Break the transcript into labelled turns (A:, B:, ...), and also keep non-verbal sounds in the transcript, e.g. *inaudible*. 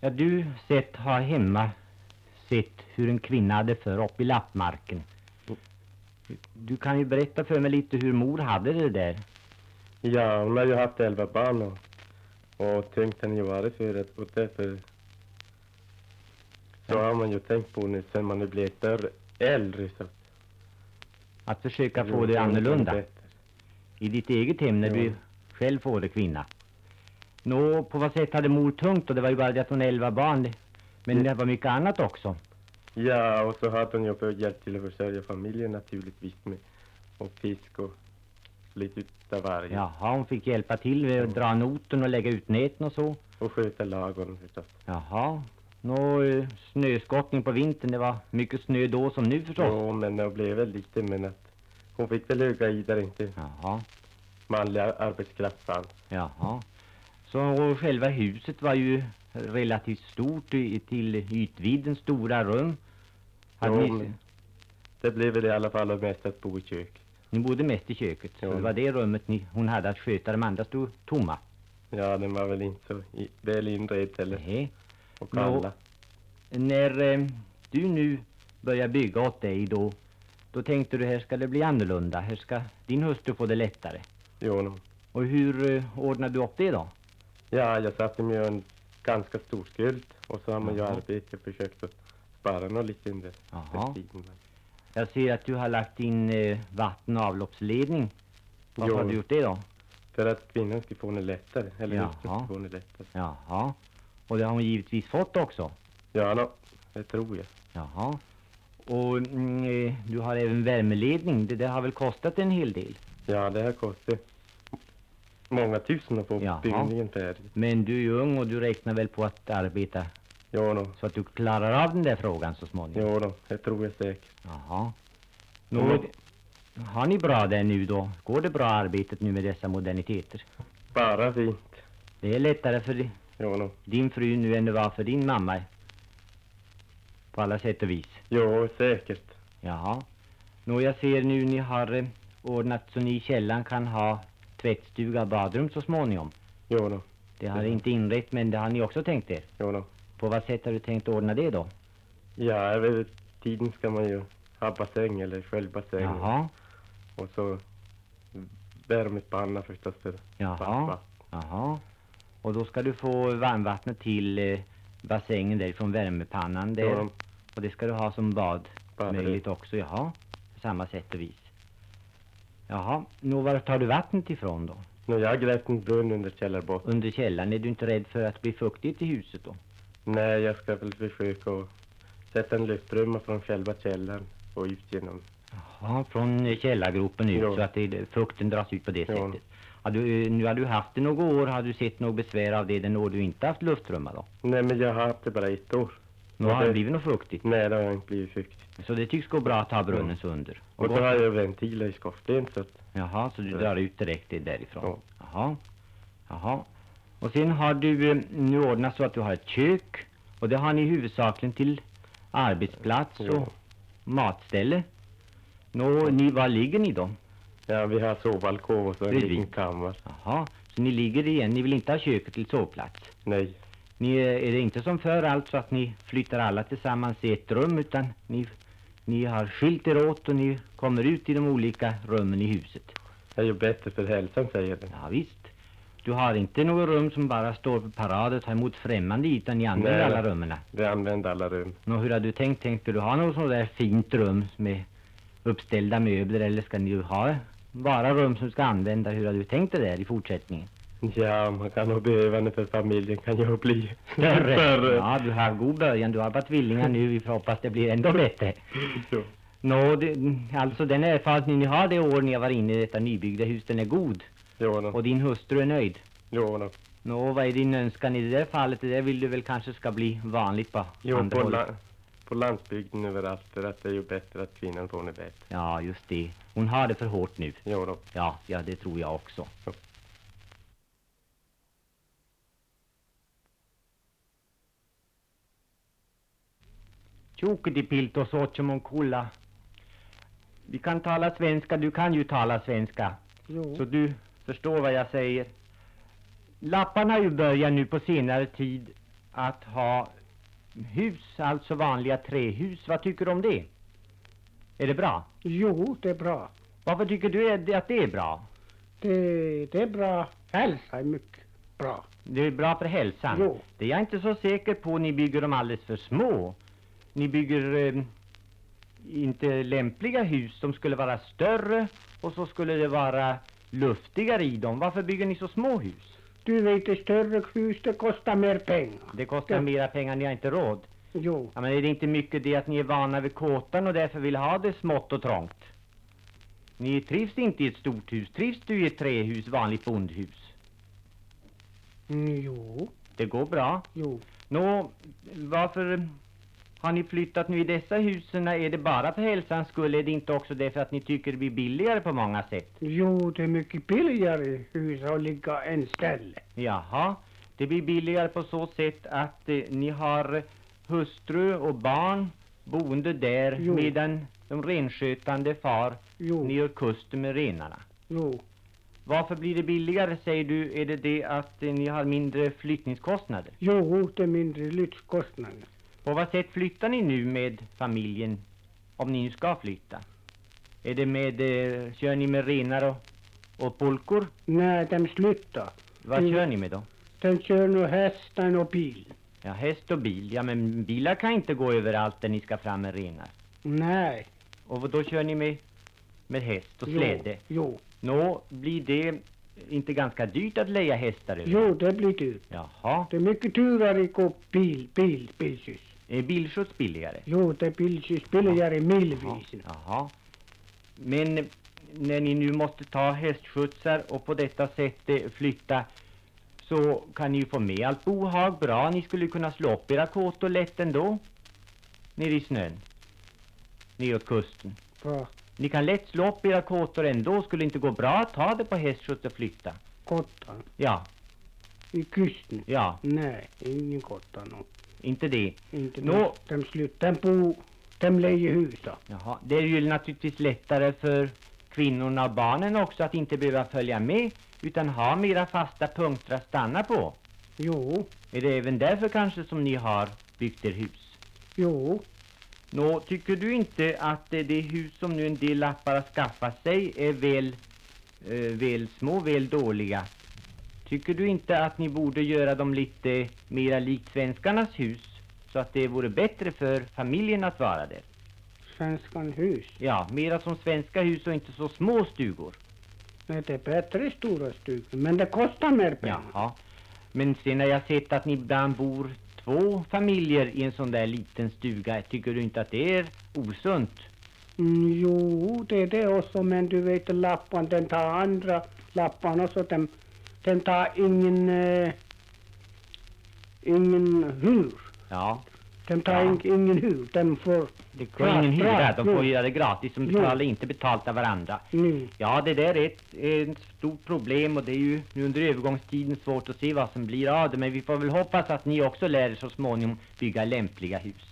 A: Ja, du sett har hemma sett hur en kvinna hade för upp i lappmarken. Du kan ju berätta för mig lite hur mor hade det där.
B: Ja, hon har ju haft elva barn och, och tyngden har ju varit förut och därför så har man ju tänkt på nu sen man nu blir större, äldre så att
A: Att försöka
B: Jo,
A: få det
B: är
A: annorlunda
B: bättre.
A: i ditt eget hem när du
B: Ja.
A: själv får det kvinna. Nå, på vad sätt hade mor tungt då? Det var ju bara det att hon elva barn. det- Men
B: Mm.
A: det var mycket annat också.
B: Ja, och så hade hon ju för- hjälpt till att försörja familjen naturligtvis med och fisk och lite utav varje
A: Jaha, hon fick hjälpa till med att
B: Ja.
A: dra noten och lägga ut näten och så.
B: och sköta ladugården förstås.
A: Jaha. Nå, eh, snöskottning på vintern, det var mycket snö då som nu förstås.
B: Jo, men det blev väl lite men att hon fick väl öga i där inte
A: Jaha,
B: manlig ar- arbetskraft fanns.
A: jaha. Så själva huset var ju relativt stort i, till ytvidden, stora rum. Hade
B: Jo,
A: ni,
B: men- Det blev väl i alla fall mest att bo i kök.
A: ni bodde mest i köket,
B: Jo.
A: så det var det rummet ni, hon hade att sköta, de andra stod tomma.
B: Ja, den var väl inte så i- väl inredd heller.
A: Nej.
B: Och
A: Jo.
B: alla.
A: När eh, du nu börjar bygga åt dig då, då tänkte du här ska det bli annorlunda, här ska din hustru få det lättare.
B: Jo, no.
A: Och hur eh, ordnade du upp det då?
B: Ja, jag satte mig i en ganska stor skuld och så har man ju
A: Jaha.
B: arbetat och försökt att spara något lite under
A: Jaha.
B: den tiden.
A: Jag ser att du har lagt in eh, vatten och avloppsledning. Varför
B: Jo.
A: har du gjort det då?
B: För att kvinnan skulle få det lättare, eller
A: Jaha.
B: hustrun skulle få det lättare.
A: Jaha. Och det har hon givetvis fått också.
B: Ja, no. det tror jag.
A: Jaha. Och mm, eh, du har även värmeledning. Det där har väl kostat en hel del.
B: Ja, det här kostar många tusen att få
A: Jaha.
B: byggningen färdig.
A: Men du är ju ung och du räknar väl på att arbeta
B: Jo, no.
A: så att du klarar av den där frågan så småningom?
B: jo no. det tror jag säkert.
A: Jaha. Nå,
B: Jo.
A: det- har ni bra där nu då? Går det bra arbetet nu med dessa moderniteter?
B: Bara fint.
A: Det är lättare för di-
B: Jo, no.
A: din fru nu än det var för din mamma. På alla sätt och vis.
B: jo säkert.
A: Jaha. Nå, jag ser nu ni har eh, ordnat så ni i källaren kan ha tvättstuga och badrum så småningom.
B: Jo, no.
A: Det har
B: Ja.
A: inte inrett, men det har ni också tänkt er.
B: Jo, no.
A: På vad sätt har du tänkt ordna det då?
B: Ja, över tiden ska man ju ha bassäng eller självbassäng.
A: Jaha,
B: Och så värmepanna förstås för
A: jaha,
B: pappa.
A: jaha. Och då ska du få varmvattnet till eh, bassängen där från värmepannan där.
B: Ja,
A: Och det ska du ha som bad
B: Badrum.
A: möjligt också, jaha. På samma sätt och vis. Jaha, nå var tar du vattnet ifrån då?
B: nu jag har grävt en brunn under källarbotten.
A: Under källaren, är du inte rädd för att det blir fuktigt i huset då?
B: Nej, jag ska väl försöka att sätta en luftrumma från själva källaren och ut genom.
A: Ja, från eh, källargropen ut
B: Ja.
A: så att det, fukten dras ut på det
B: Ja.
A: sättet. Har du, eh, nu har du haft det några år, har du sett något besvär av det den år du inte haft luftrumma då?
B: Nej, men jag har haft det bara ett år.
A: Nu
B: Och
A: har det
B: det-
A: blivit något fuktigt.
B: Nej, det har jag inte blivit fuktigt.
A: Så det tycks gå bra att ha brunnen sönder.
B: Och
A: gå-
B: så har jag ventiler i skorstenen så att,
A: Jaha, så du
B: Ja.
A: drar ut direkt det därifrån?
B: Ja.
A: Jaha. Jaha. Och sen har du eh, nu ordnat så att du har ett kök och det har ni huvudsakligen till arbetsplats
B: Ja.
A: och matställe. Nå, ni, var ligger ni då?
B: ja, vi har sovalkov och så en
A: Bredvid.
B: liten kammare.
A: Jaha, så ni ligger igen, ni vill inte ha köket till sovplats?
B: Nej,
A: Ni, eh, är det inte som förr alltså att ni flyttar alla tillsammans i ett rum utan ni, ni har skilt er åt och ni kommer ut i de olika rummen i huset?
B: det är ju bättre för hälsan säger den.
A: Ja, visst. Du har inte något rum som bara står på parad och tar emot främmande utan ni använder
B: Nej.
A: alla rummen.
B: Vi använder alla rum.
A: Nå, hur har du tänkt? Tänkte du ha något sånt där fint rum med uppställda möbler eller ska ni ha bara rum som ska använda? Hur har du tänkt det där i fortsättningen?
B: Ja, man kan nog behöva det för familjen kan ju bli
A: Större. Ja, du har god början. Du har bara tvillingar nu. Vi får hoppas det blir ändå bättre.
B: *laughs* Jo.
A: Nå, det, alltså den erfarenhet ni har det år ni har varit inne i detta nybyggda hus, den är god.
B: Jo, no.
A: Och din hustru är nöjd.
B: Jo, no.
A: Nå, vad är din önskan i det där fallet? Det där vill du väl kanske ska bli vanligt på
B: Jo,
A: andra
B: på,
A: hållet?
B: la på landsbygden överallt för att det är ju bättre att kvinnan får det bättre.
A: Ja, just det. Hon har det för hårt nu.
B: Jo, no.
A: Ja, ja, det tror jag också. Tjokidipiltos åtjomonkulla. Vi kan tala svenska, du kan ju tala svenska.
C: Jo.
A: Så du förstår vad jag säger. Lapparna har ju börjat nu på senare tid att ha hus, alltså vanliga trähus. Vad tycker du om det? Är det bra?
C: Jo, det är bra.
A: Varför tycker du är- att det är bra?
C: Det, det är bra. Hälsa är mycket bra.
A: Det är bra för hälsan.
C: Jo.
A: Det är jag inte så säker på. Ni bygger dem alldeles för små. Ni bygger eh, inte lämpliga hus. De skulle vara större och så skulle det vara luftigare i dem. Varför bygger ni så små hus?
C: Du vet, det större hus, det kostar mer pengar.
A: Det kostar
C: Ja.
A: mera pengar, ni har inte råd.
C: Jo,
A: Ja, men är det inte mycket det att ni är vana vid kåtan och därför vill ha det smått och trångt? Ni trivs inte i ett stort hus. Trivs du i ett trähus, vanligt bondhus?
C: Mm, jo,
A: Det går bra.
C: jo.
A: Nå, varför har ni flyttat nu i dessa husen? Är det bara för hälsans skull? Är det inte också därför att ni tycker det blir billigare på många sätt?
C: Jo, det är mycket billigare hus att ligga en ställe.
A: Jaha, det blir billigare på så sätt att eh, ni har hustru och barn boende där
C: Jo.
A: medan de renskötande far
C: Jo,
A: ner kusten med renarna.
C: jo.
A: Varför blir det billigare säger du? Är det det att eh, ni har mindre flyttningskostnader?
C: Jo, det är mindre lyxkostnader.
A: På vad sätt flyttar ni nu med familjen? Om ni nu ska flytta? Är det med, eh, kör ni med renar och, och polkor?
C: När de slutar,
A: Vad
C: Mm.
A: kör ni med då?
C: de kör nu hästen och bil.
A: Ja, häst och bil. Ja, men bilar kan inte gå överallt där ni ska fram med renar.
C: Nej,
A: Och vad- då kör ni med, med häst och
C: jo,
A: släde?
C: jo,
A: Nå, blir det inte ganska dyrt att leja hästar överallt?
C: jo, det blir dyrt.
A: Jaha.
C: Det är mycket dyrare att gå bil, bil, bilsys.
A: Är bilskjuts billigare?
C: Jo, det är bilsys billigare milvis.
A: Jaha. Men när ni nu måste ta hästskjutsar och på detta sätt eh, flytta så kan ni ju få med allt bohag bra. Ni skulle kunna slå upp era kåtor lätt ändå. Nere i snön. Neråt kusten.
C: Bra.
A: Ni kan lätt slå upp era kåtor ändå. Skulle inte gå bra att ta det på hästskjuts och flytta?
C: Gotland,
A: Ja,
C: i kusten.
A: ja,
C: Nej, ingen Gotland. och
A: inte det.
C: Inte
A: Nå.
C: no. De slutar bo, de lejer hus då.
A: Jaha. Det är ju naturligtvis lättare för kvinnorna och barnen också att inte behöva följa med utan ha mera fasta punkter att stanna på.
C: Jo,
A: Är det även därför kanske som ni har byggt er hus?
C: jo,
A: Nå, tycker du inte att eh, det hus som nu en del lappar har skaffat sig är väl, eh, väl små, väl dåliga? Tycker du inte att ni borde göra dem lite mera likt svenskarnas hus så att det vore bättre för familjen att vara där?
C: svenskan hus.
A: Ja, mera som svenska hus och inte så små stugor.
C: Nej, det är bättre stora stugor, men det kostar mer pengar.
A: Jaha. Men sen har jag sett att ni ibland bor två familjer i en sån där liten stuga. Tycker du inte att det är osunt?
C: Mm, jo, det är det också, men du vet lappan, den tar andra lappan också. Den, den tar ingen, eh, ingen hur.
A: Ja.
C: Den tar
A: Ja.
C: ing, ingen hur, den får
A: Det går
C: Klart,
A: ingen hyra,
C: klart,
A: de
C: jo.
A: får göra det gratis. De
C: Jo.
A: betalar inte betalt av varandra.
C: nu.
A: Ja, det där är ett, ett stort problem och det är ju nu under övergångstiden svårt att se vad som blir av det. Men vi får väl hoppas att ni också lär er så småningom bygga lämpliga hus.